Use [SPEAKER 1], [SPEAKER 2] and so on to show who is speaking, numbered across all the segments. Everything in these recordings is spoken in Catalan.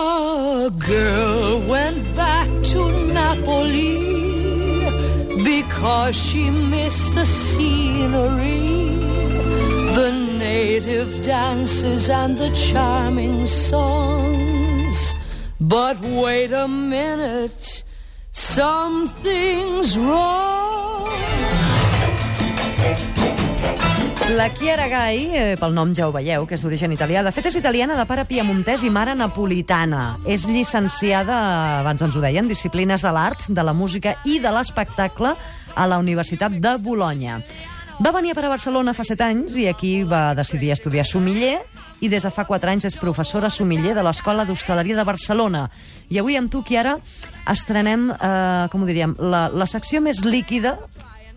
[SPEAKER 1] A girl went back to Napoli because she missed the scenery, the native dances and the charming songs. But wait a minute, something's wrong.
[SPEAKER 2] La Chiara Gai, eh, pel nom ja ho veieu, que és d'origen italià, de fet és italiana de pare piemontès i mare napolitana. És llicenciada, abans ens ho deien, disciplines de l'art, de la música i de l'espectacle a la Universitat de Bologna. Va venir a per a Barcelona fa 7 anys i aquí va decidir estudiar somiller i des de fa 4 anys és professora somiller de l'Escola d'Hostaleria de Barcelona. I avui amb tu, Chiara, estrenem, eh, com ho diríem, la, la secció més líquida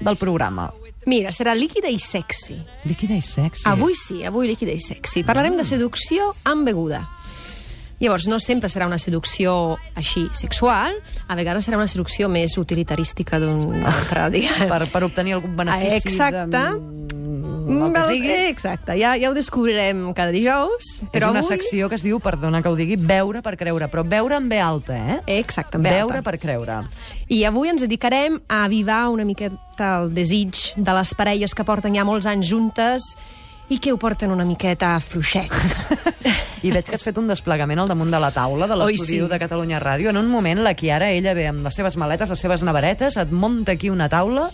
[SPEAKER 2] del programa.
[SPEAKER 3] Mira, serà líquida i sexy.
[SPEAKER 2] Líquida i sexy.
[SPEAKER 3] Sí. Avui sí, avui líquida i sexy. Parlarem de seducció amb beguda. Llavors, no sempre serà una seducció així sexual, a vegades serà una seducció més utilitarística d'un altre, diguem.
[SPEAKER 2] per, per obtenir algun benefici
[SPEAKER 3] Exacte.
[SPEAKER 2] de... mm, el que sigui.
[SPEAKER 3] Eh, Exacte, ja, ja ho descobrirem cada dijous.
[SPEAKER 2] Però
[SPEAKER 3] Però
[SPEAKER 2] és una
[SPEAKER 3] avui...
[SPEAKER 2] secció que es diu, perdona que ho digui, veure per creure, però veure en ve alta, eh?
[SPEAKER 3] Exacte, en ve
[SPEAKER 2] veure
[SPEAKER 3] alta.
[SPEAKER 2] per creure.
[SPEAKER 3] I avui ens dedicarem a avivar una miqueta el desig de les parelles que porten ja molts anys juntes i que ho porten una miqueta fluixet.
[SPEAKER 2] I veig que has fet un desplegament al damunt de la taula de l'estudi
[SPEAKER 3] Oi, sí.
[SPEAKER 2] de Catalunya Ràdio. En un moment, la Chiara, ella ve amb les seves maletes, les seves neveretes, et munta aquí una taula...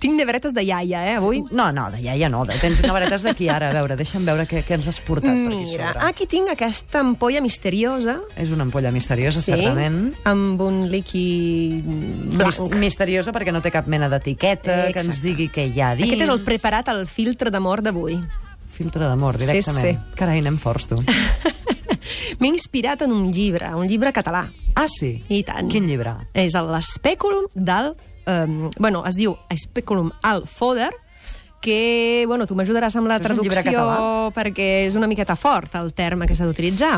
[SPEAKER 3] Tinc neveretes de iaia, eh, avui?
[SPEAKER 2] No, no, de iaia no, de, tens neveretes de Chiara. A veure, deixa'm veure què, què ens has portat per aquí
[SPEAKER 3] Mm, Mira,
[SPEAKER 2] sobre.
[SPEAKER 3] aquí tinc aquesta ampolla misteriosa.
[SPEAKER 2] És una ampolla misteriosa, certament.
[SPEAKER 3] Amb un líquid
[SPEAKER 2] Mis-
[SPEAKER 3] blanc.
[SPEAKER 2] Misteriosa perquè no té cap mena d'etiqueta, que ens
[SPEAKER 3] Exacte.
[SPEAKER 2] digui què hi ha a dins.
[SPEAKER 3] Aquest és el preparat al filtre d'amor d'avui.
[SPEAKER 2] Filtre d'amor,
[SPEAKER 3] Sí,
[SPEAKER 2] directament.
[SPEAKER 3] sí.
[SPEAKER 2] Carai, anem forts, tu.
[SPEAKER 3] M'he inspirat en un llibre, un llibre català.
[SPEAKER 2] Ah, sí?
[SPEAKER 3] I tant.
[SPEAKER 2] Quin llibre?
[SPEAKER 3] És el l'Espèculum del... Um, bueno, es diu Espèculum al Foder, que, bueno, tu m'ajudaràs amb la
[SPEAKER 2] Això és un llibre
[SPEAKER 3] traducció
[SPEAKER 2] català?
[SPEAKER 3] perquè és una miqueta fort el terme que s'ha d'utilitzar.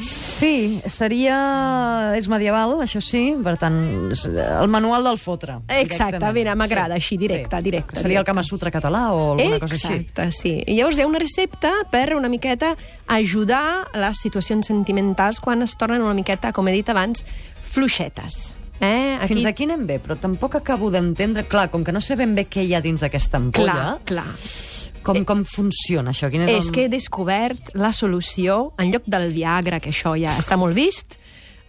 [SPEAKER 2] Sí, seria... És medieval, això sí, per tant, és el manual del fotre.
[SPEAKER 3] Exacte,
[SPEAKER 2] directament.
[SPEAKER 3] mira, m'agrada, així, directe, directe,
[SPEAKER 2] Seria el
[SPEAKER 3] directe.
[SPEAKER 2] Kama Sutra català o alguna
[SPEAKER 3] Exacte,
[SPEAKER 2] cosa així.
[SPEAKER 3] sí. I llavors hi ha una recepta per una miqueta ajudar les situacions sentimentals quan es tornen una miqueta, com he dit abans, fluixetes. Eh?
[SPEAKER 2] Aquí... Fins aquí anem bé, però tampoc acabo d'entendre... Clar, com que no sé ben bé què hi ha dins d'aquesta ampolla,
[SPEAKER 3] Clar, clar.
[SPEAKER 2] com, com funciona això? Quin és,
[SPEAKER 3] És
[SPEAKER 2] el...
[SPEAKER 3] que he descobert la solució, en lloc del Viagra, que això ja està molt vist,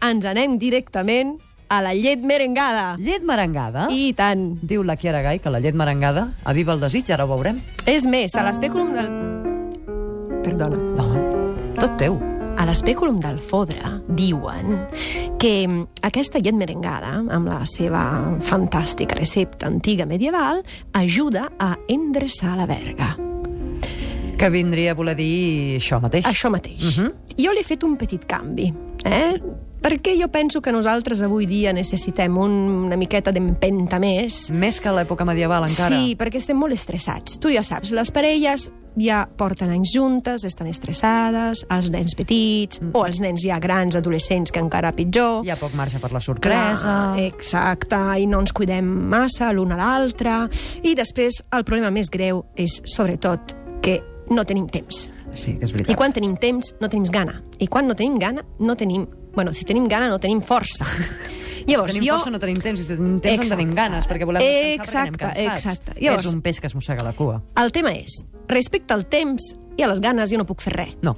[SPEAKER 3] ens anem directament a la llet merengada.
[SPEAKER 2] Llet merengada?
[SPEAKER 3] I tant.
[SPEAKER 2] Diu la Chiara Gai que la llet merengada aviva el desig, ara ho veurem.
[SPEAKER 3] És més, a l'espèculum del... Perdona.
[SPEAKER 2] Dona, tot teu.
[SPEAKER 3] A l'espèculum del fodre diuen que mm, aquesta llet merengada, amb la seva fantàstica recepta antiga medieval, ajuda a endreçar la verga.
[SPEAKER 2] Que vindria a voler dir això mateix.
[SPEAKER 3] Això mateix.
[SPEAKER 2] Mhm.
[SPEAKER 3] Jo li he fet un petit canvi, eh? Perquè jo penso que nosaltres avui dia necessitem un, una miqueta d'empenta més
[SPEAKER 2] Més que a l'època medieval, encara.
[SPEAKER 3] Sí, perquè estem molt estressats. Tu ja saps, les parelles ja porten anys juntes, estan estressades, els nens petits, mm. o els nens ja grans, adolescents, que encara pitjor.
[SPEAKER 2] Hi ha poc marge per la
[SPEAKER 3] Clar,
[SPEAKER 2] sorpresa.
[SPEAKER 3] Exacte, i no ens cuidem massa l'un a l'altre. I després, el problema més greu és, sobretot, que no tenim temps.
[SPEAKER 2] Sí, que és veritat.
[SPEAKER 3] eh. I quan tenim temps, no tenim gana. I quan no tenim gana, no tenim... Bueno, si tenim gana, no tenim força. Llavors,
[SPEAKER 2] si tenim
[SPEAKER 3] jo...
[SPEAKER 2] força no tenim temps, i si tenim temps
[SPEAKER 3] Exacte.
[SPEAKER 2] no tenim ganes, perquè volem descansar
[SPEAKER 3] Exacte,
[SPEAKER 2] perquè anem cansats.
[SPEAKER 3] exacte. Llavors-
[SPEAKER 2] És un peix que es mossega la cua.
[SPEAKER 3] El tema és, respecte al temps i a les ganes, jo no puc fer res.
[SPEAKER 2] No.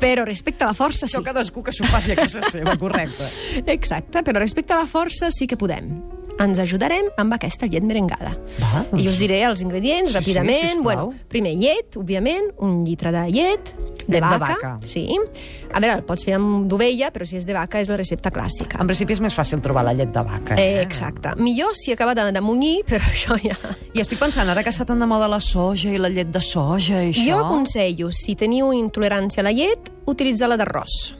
[SPEAKER 3] Però respecte a la força, sí.
[SPEAKER 2] Això cadascú que s'ho faci a casa seva, correcte.
[SPEAKER 3] Exacte, però respecte a la força sí que podem. Ens ajudarem amb aquesta llet merengada.
[SPEAKER 2] Va, doncs.
[SPEAKER 3] I us diré els ingredients
[SPEAKER 2] Sí, sí,
[SPEAKER 3] ràpidament.
[SPEAKER 2] sisplau.
[SPEAKER 3] bueno, primer, llet, òbviament, un litre de llet, de
[SPEAKER 2] Llet de
[SPEAKER 3] vaca.
[SPEAKER 2] vaca.
[SPEAKER 3] Sí. A veure, el pots fer amb d'ovella, però si és de vaca és la recepta clàssica.
[SPEAKER 2] En principi és més fàcil trobar la llet de vaca.
[SPEAKER 3] Eh, exacte. Millor si acaba de, de munyir, però això ja...
[SPEAKER 2] I estic pensant, ara que està tan de moda la soja i la llet de soja i això...
[SPEAKER 3] Jo aconsello, si teniu intolerància a la llet, utilitzar la d'arròs,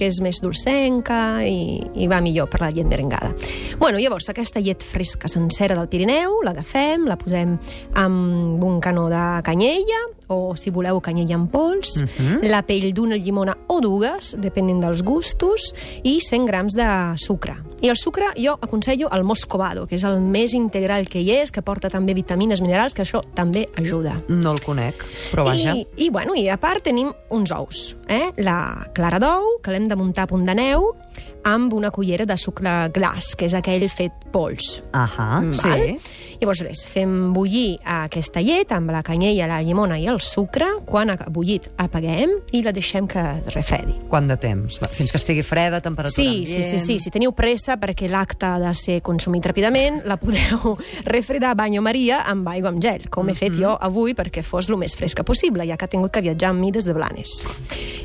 [SPEAKER 3] que és més dolcenca i, i va millor per la llet merengada. Bueno, llavors, aquesta llet fresca sencera del Pirineu, l'agafem, la posem amb un canó de canyella, o, si voleu, canyella en pols,
[SPEAKER 2] Mhm.
[SPEAKER 3] la pell d'una llimona o dues, depenent dels gustos, i 100 grams de sucre. I el sucre jo aconsello el moscovado, que és el més integral que hi és, que porta també vitamines, minerals, que això també ajuda.
[SPEAKER 2] No el conec, però vaja.
[SPEAKER 3] I, i, bueno, i a part tenim uns ous, eh? la clara d'ou, que l'hem de muntar a punt de neu amb una cullera de sucre glaç, que és aquell fet pols.
[SPEAKER 2] Ahà,
[SPEAKER 3] Val?
[SPEAKER 2] sí.
[SPEAKER 3] Llavors res, fem bullir aquesta llet amb la canyella, la llimona i el sucre. Quan ha bullit, apaguem i la deixem que es refredi.
[SPEAKER 2] Quant de temps? Va, Fins que estigui freda, temperatura
[SPEAKER 3] Sí, sí,
[SPEAKER 2] ambient...
[SPEAKER 3] sí, sí, si teniu pressa perquè l'acte ha de ser consumit ràpidament, la podeu refredar a banyo maria amb aigua amb gel, com he
[SPEAKER 2] Mhm.
[SPEAKER 3] fet jo avui perquè fos el més fresca possible, ja que ha tingut que viatjar amb mi des de Blanes.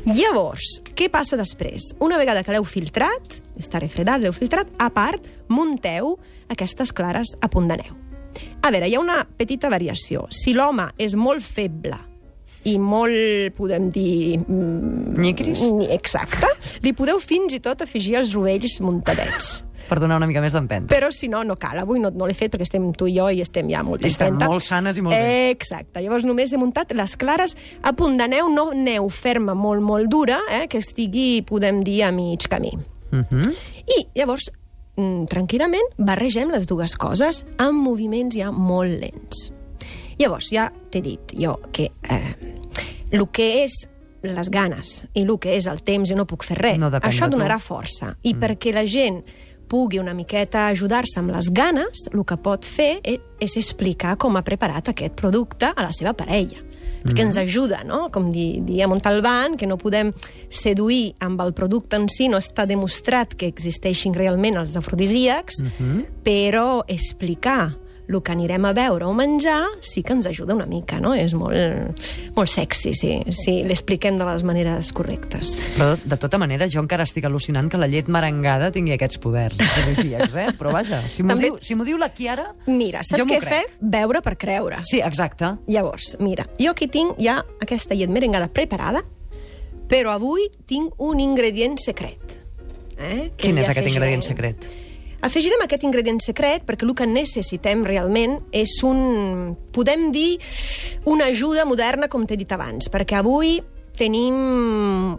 [SPEAKER 3] Llavors, què passa després? Una vegada que l'heu filtrat, està refredat, l'heu filtrat, a part, munteu aquestes clares a punt de neu. A veure, hi ha una petita variació. Si l'home és molt feble i molt, podem dir... mm,
[SPEAKER 2] Nyicris?
[SPEAKER 3] Ni- Exacte. Li podeu fins i tot afegir els rovells muntadets.
[SPEAKER 2] Per donar una mica més d'empenta.
[SPEAKER 3] Però si no, no cal. Avui no, no l'he fet perquè estem tu i jo i estem ja molt
[SPEAKER 2] I estem
[SPEAKER 3] contenta.
[SPEAKER 2] molt sanes i molt bé.
[SPEAKER 3] Exacte. Llavors només he muntat les clares a punt de neu, no neu ferma, molt, molt dura, eh, que estigui, podem dir, a mig camí.
[SPEAKER 2] Uh -huh.
[SPEAKER 3] I llavors, mm, tranquil·lament, barregem les dues coses amb moviments ja molt lents. Llavors, ja t'he dit jo que eh, el que és les ganes i el que és el temps, jo no puc fer res.
[SPEAKER 2] No depèn
[SPEAKER 3] Això
[SPEAKER 2] de tu.
[SPEAKER 3] donarà força. I mm. perquè la gent pugui una miqueta ajudar-se amb les ganes, el que pot fer e- és explicar com ha preparat aquest producte a la seva parella. Perquè ens ajuda, no? Com di, diem un talban, que no podem seduir amb el producte en si, no està demostrat que existeixin realment els afrodisíacs, però explicar el que anirem a veure o menjar sí que ens ajuda una mica, no? És molt, molt sexy, si, si l'expliquem de les maneres correctes.
[SPEAKER 2] Però, de tota manera, jo encara estic al·lucinant que la llet merengada tingui aquests poders afrodisíacs, eh? Però vaja, si m'ho
[SPEAKER 3] També-
[SPEAKER 2] diu, si m'ho diu la Chiara...
[SPEAKER 3] Mira, saps
[SPEAKER 2] jo m'ho
[SPEAKER 3] què
[SPEAKER 2] crec.
[SPEAKER 3] fer? Veure per creure.
[SPEAKER 2] Sí, exacte.
[SPEAKER 3] Llavors, mira, jo aquí tinc ja aquesta llet merengada preparada, però avui tinc un ingredient secret. Eh? Que
[SPEAKER 2] Quin és
[SPEAKER 3] li
[SPEAKER 2] aquest
[SPEAKER 3] afegirem.
[SPEAKER 2] ingredient secret?
[SPEAKER 3] Afegirem aquest ingredient secret perquè el que necessitem realment és un, podem dir, una ajuda moderna, com t'he dit abans, perquè avui tenim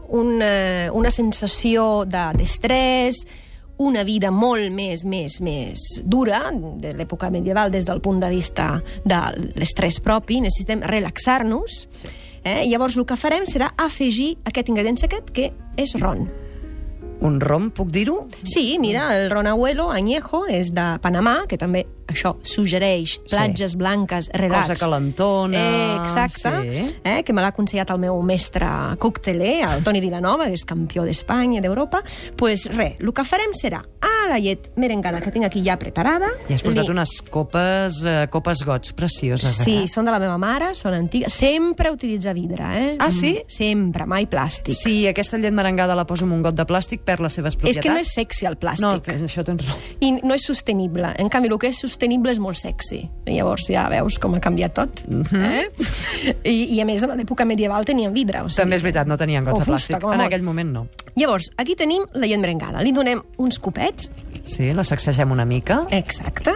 [SPEAKER 3] una, una sensació de- d'estrès, de, una vida molt més, més, més dura de l'època medieval des del punt de vista de l'estrès propi. Necessitem relaxar-nos. Sí. Eh? Llavors, el que farem serà afegir aquest ingredient secret, que és ron.
[SPEAKER 2] Un rom, puc dir-ho?
[SPEAKER 3] Sí, mira, el Ron Abuelo Añejo és de Panamà, que també això suggereix platges sí. blanques, relax.
[SPEAKER 2] Cosa calentona,
[SPEAKER 3] Eh, exacte,
[SPEAKER 2] sí.
[SPEAKER 3] eh, que me l'ha aconsellat el meu mestre cocteler, el Toni Vilanova, que és campió d'Espanya i d'Europa. Doncs pues, res, el que farem serà a la llet merengada que tinc aquí ja preparada.
[SPEAKER 2] I has portat
[SPEAKER 3] li-
[SPEAKER 2] unes copes, eh, copes gots precioses.
[SPEAKER 3] Sí,
[SPEAKER 2] eh?
[SPEAKER 3] són de la meva mare, són antigues. Sempre utilitza vidre, eh?
[SPEAKER 2] Ah, sí?
[SPEAKER 3] Sempre, mai plàstic.
[SPEAKER 2] Si aquesta llet merengada la poso en un got de plàstic, perd les seves
[SPEAKER 3] És
[SPEAKER 2] propietats?
[SPEAKER 3] que no és sexy el plàstic.
[SPEAKER 2] No, t- això tens raó.
[SPEAKER 3] i no és sostenible. En canvi, el que és sostenible és molt sexy. I llavors ja veus com ha canviat tot. Mm
[SPEAKER 2] Mhm.
[SPEAKER 3] -hmm. eh? I, I a més, a l'època medieval tenien vidre. O sigui,
[SPEAKER 2] També és veritat, no tenien gots
[SPEAKER 3] o
[SPEAKER 2] de
[SPEAKER 3] fusta,
[SPEAKER 2] plàstic.
[SPEAKER 3] com a
[SPEAKER 2] En
[SPEAKER 3] molt.
[SPEAKER 2] aquell moment no.
[SPEAKER 3] Llavors, aquí tenim la llet merengada. Li donem uns copets,
[SPEAKER 2] Sí, la sacsegem una mica.
[SPEAKER 3] exacte,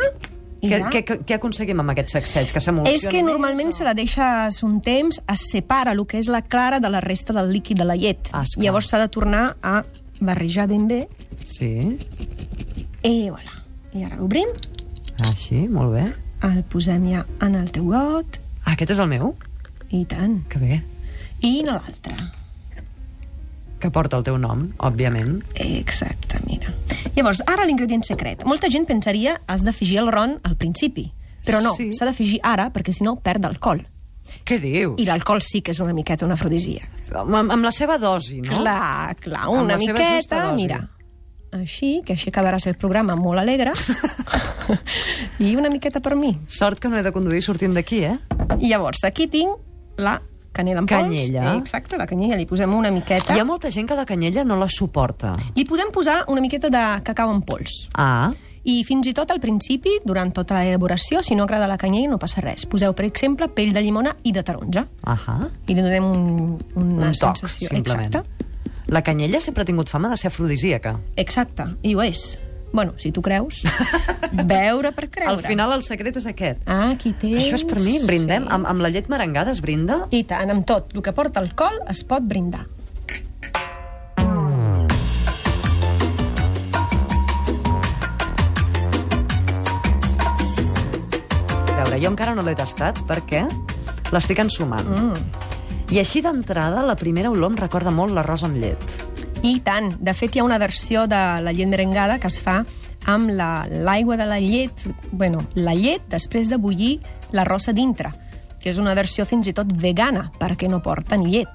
[SPEAKER 3] i
[SPEAKER 2] Què,
[SPEAKER 3] ja.
[SPEAKER 2] què, què- què aconseguim amb aquests sacseig? Que
[SPEAKER 3] És que normalment se la deixes un temps, es separa el que és la clara de la resta del líquid de la llet.
[SPEAKER 2] Ah, esclar.
[SPEAKER 3] Llavors s'ha de tornar a barrejar ben bé.
[SPEAKER 2] Sí,
[SPEAKER 3] I, voilà. I ara l'obrim,
[SPEAKER 2] així, Ah, molt bé.
[SPEAKER 3] el posem ja en el teu got,
[SPEAKER 2] Ah, aquest és el meu?
[SPEAKER 3] i tant.
[SPEAKER 2] Que bé.
[SPEAKER 3] I en l'altre.
[SPEAKER 2] Que porta el teu nom, òbviament.
[SPEAKER 3] Exacte, mira. Llavors, ara l'ingredient secret. Molta gent pensaria has d'afegir el ron al principi, però no,
[SPEAKER 2] Sí.
[SPEAKER 3] s'ha d'afegir ara perquè si no perd alcohol.
[SPEAKER 2] Què dius?
[SPEAKER 3] I l'alcohol sí que és una miqueta un afrodisia.
[SPEAKER 2] Amb, amb la seva dosi, no?
[SPEAKER 3] Clar, clar,
[SPEAKER 2] Amb
[SPEAKER 3] una
[SPEAKER 2] la seva justa
[SPEAKER 3] miqueta,
[SPEAKER 2] dosi.
[SPEAKER 3] mira. Així, que així acabaràs el programa molt alegre. I una miqueta per mi.
[SPEAKER 2] Sort que no he de conduir sortint d'aquí, eh?
[SPEAKER 3] I llavors, aquí tinc la canela en pols.
[SPEAKER 2] Canyella.
[SPEAKER 3] Exacte, la canyella. Li posem una miqueta.
[SPEAKER 2] Hi ha molta gent que la canyella no la suporta.
[SPEAKER 3] Li podem posar una miqueta de cacau en pols.
[SPEAKER 2] Ah,
[SPEAKER 3] I fins i tot al principi, durant tota l'elaboració, si no agrada la canyella no passa res. Poseu, per exemple, pell de llimona i de taronja.
[SPEAKER 2] ahà.
[SPEAKER 3] I li donem un, una
[SPEAKER 2] Un toc,
[SPEAKER 3] sensació.
[SPEAKER 2] simplement.
[SPEAKER 3] Exacte.
[SPEAKER 2] La canyella sempre ha tingut fama de ser afrodisíaca.
[SPEAKER 3] Exacte, i ho és. Bueno, si tu creus, veure per creure.
[SPEAKER 2] Al final el secret és aquest.
[SPEAKER 3] Ah, aquí tens...
[SPEAKER 2] Això és per mi, brindem. Amb, amb la llet merengada es brinda?
[SPEAKER 3] I tant, amb tot. El que porta alcohol es pot brindar.
[SPEAKER 2] A veure, jo encara no l'he tastat perquè l'estic ensumant. Mm. I així d'entrada, la primera olor em recorda molt l'arròs amb llet.
[SPEAKER 3] I tant. De fet, hi ha una versió de la llet merengada que es fa amb la- l'aigua la, de la llet, bueno, la llet després de bullir l'arròs a dintre, que és una versió fins i tot vegana, perquè no porta ni llet.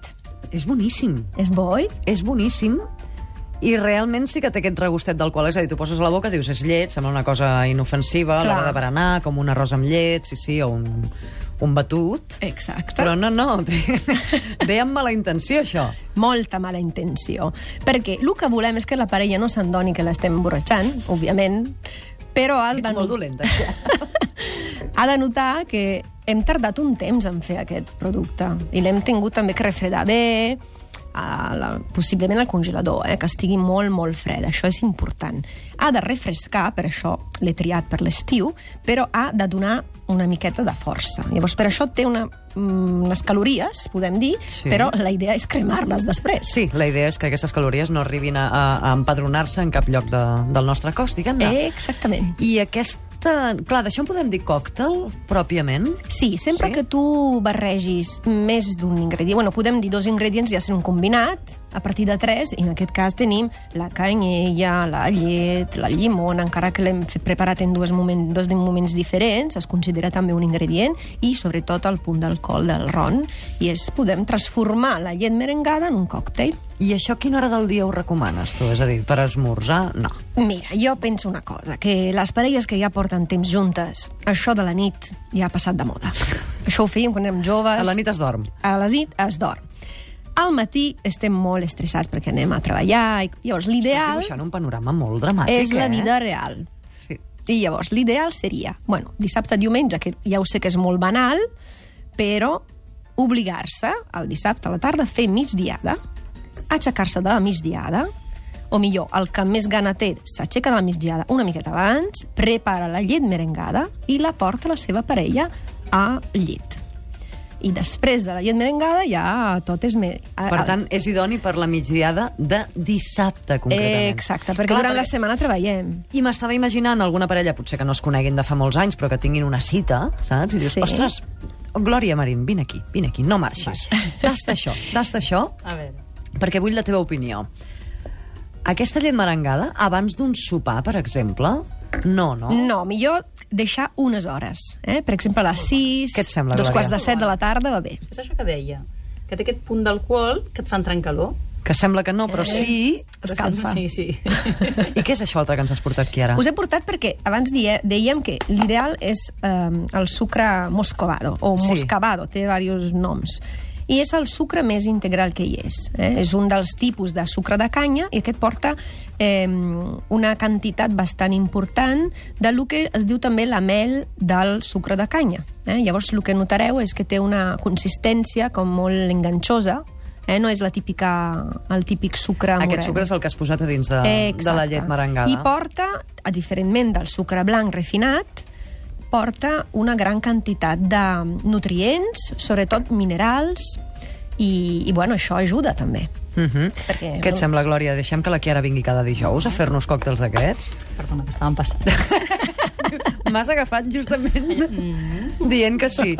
[SPEAKER 2] És boníssim.
[SPEAKER 3] És bo, oi?
[SPEAKER 2] és boníssim i realment sí que té aquest regustet del qual, és a dir, tu poses a la boca, dius, és llet, sembla una cosa inofensiva, a
[SPEAKER 3] Clar.
[SPEAKER 2] l'hora de berenar, com un arròs amb llet, sí, sí, o un, un batut.
[SPEAKER 3] Exacte.
[SPEAKER 2] Però no, no, té- ve amb mala intenció, això.
[SPEAKER 3] molta mala intenció. Perquè el que volem és que la parella no s'endoni que l'estem emborratxant, òbviament, però ha
[SPEAKER 2] Ets
[SPEAKER 3] de...
[SPEAKER 2] molt dolenta.
[SPEAKER 3] ha de notar que hem tardat un temps en fer aquest producte i l'hem tingut també que refredar bé, a la, possiblement al congelador, eh, que estigui molt, molt fred. Això és important. Ha de refrescar, per això l'he triat per l'estiu, però ha de donar una miqueta de força. Llavors, per això té una, mm, unes calories, podem dir,
[SPEAKER 2] Sí.
[SPEAKER 3] sí. però la idea és cremar-les després.
[SPEAKER 2] Sí, la idea és que aquestes calories no arribin a, a, a empadronar-se en cap lloc de, del nostre cos, diguem-ne.
[SPEAKER 3] Eh, exactament.
[SPEAKER 2] I aquesta... Clar, d'això en podem dir còctel, pròpiament?
[SPEAKER 3] Sí, sempre
[SPEAKER 2] Sí?
[SPEAKER 3] sí? que tu barregis més d'un ingredient, bueno, podem dir dos ingredients i ja ser un combinat, a partir de tres, i en aquest cas tenim la canyella, la llet, la llimona, encara que l'hem fet- preparat en dues moment, dos moments diferents, es considera també un ingredient, i sobretot el punt d'alcohol del ron, i es podem transformar la llet merengada en un còctel.
[SPEAKER 2] I això a quina hora del dia ho recomanes, tu? És a dir, per esmorzar? No.
[SPEAKER 3] Mira, jo penso una cosa, que les parelles que ja porten temps juntes, això de la nit ja ha passat de moda. Això ho fèiem quan érem joves.
[SPEAKER 2] A la nit es dorm.
[SPEAKER 3] a la nit es dorm. Al matí estem molt estressats perquè anem a treballar. I, llavors,
[SPEAKER 2] Estàs
[SPEAKER 3] l'ideal
[SPEAKER 2] dibuixant un panorama molt dramàtic,
[SPEAKER 3] és la
[SPEAKER 2] eh?
[SPEAKER 3] vida real.
[SPEAKER 2] Sí.
[SPEAKER 3] I llavors, l'ideal seria, bueno, dissabte, diumenge, que ja ho sé que és molt banal, però obligar-se el dissabte a la tarda a fer migdiada, aixecar-se de la migdiada, o millor, el que més gana té s'aixeca de la migdiada una miqueta abans, prepara la llet merengada i la porta a la seva parella a llit. I després de la llet merengada ja tot és... Me...
[SPEAKER 2] Per tant, és idoni per la migdiada de dissabte, concretament.
[SPEAKER 3] Exacte, perquè Clar, durant perquè... la setmana treballem.
[SPEAKER 2] I m'estava imaginant alguna parella, potser que no es coneguin de fa molts anys, però que tinguin una cita, saps? I dius,
[SPEAKER 3] Sí.
[SPEAKER 2] ostres, Glòria Marín, vine aquí, vine aquí, no marxis. Tasta això, tasta això,
[SPEAKER 1] A veure.
[SPEAKER 2] perquè vull la teva opinió. Aquesta llet merengada, abans d'un sopar, per exemple, no, no?
[SPEAKER 3] No, millor deixar unes hores. Eh? Per exemple, a les 6,
[SPEAKER 2] Què et sembla,
[SPEAKER 3] dos
[SPEAKER 2] Glòria?
[SPEAKER 3] quarts de 7 de la tarda va bé.
[SPEAKER 4] És això que deia, que té aquest punt d'alcohol que et fa entrar en calor.
[SPEAKER 2] Que sembla que no, però
[SPEAKER 3] Eh.
[SPEAKER 2] sí...
[SPEAKER 4] Però
[SPEAKER 3] Escalfa.
[SPEAKER 4] Sí, sí.
[SPEAKER 2] I què és això altre que ens has portat aquí ara?
[SPEAKER 3] Us he portat perquè abans die, dèiem que l'ideal és eh, el sucre moscovado, o
[SPEAKER 2] Sí.
[SPEAKER 3] sí. moscavado, té diversos noms. I és el sucre més integral que hi és. Eh? És un dels tipus de sucre de canya i aquest porta eh, una quantitat bastant important de lo que es diu també la mel del sucre de canya. Eh? Llavors, el que notareu és que té una consistència com molt enganxosa, eh? no és la típica, el típic sucre moreno.
[SPEAKER 2] Ah, Aquest sucre és el que has posat a dins de, de la
[SPEAKER 3] Exacte.
[SPEAKER 2] llet merengada.
[SPEAKER 3] I porta, a diferentment del sucre blanc refinat, porta una gran quantitat de nutrients, sobretot minerals, i, i bueno, això ajuda també.
[SPEAKER 2] Uh -huh.
[SPEAKER 3] Perquè-
[SPEAKER 2] Què et sembla, Glòria? Deixem que la Chiara vingui cada dijous a fer-nos còctels d'aquests?
[SPEAKER 4] Perdona, que estàvem passant.
[SPEAKER 2] M'has agafat justament dient que sí.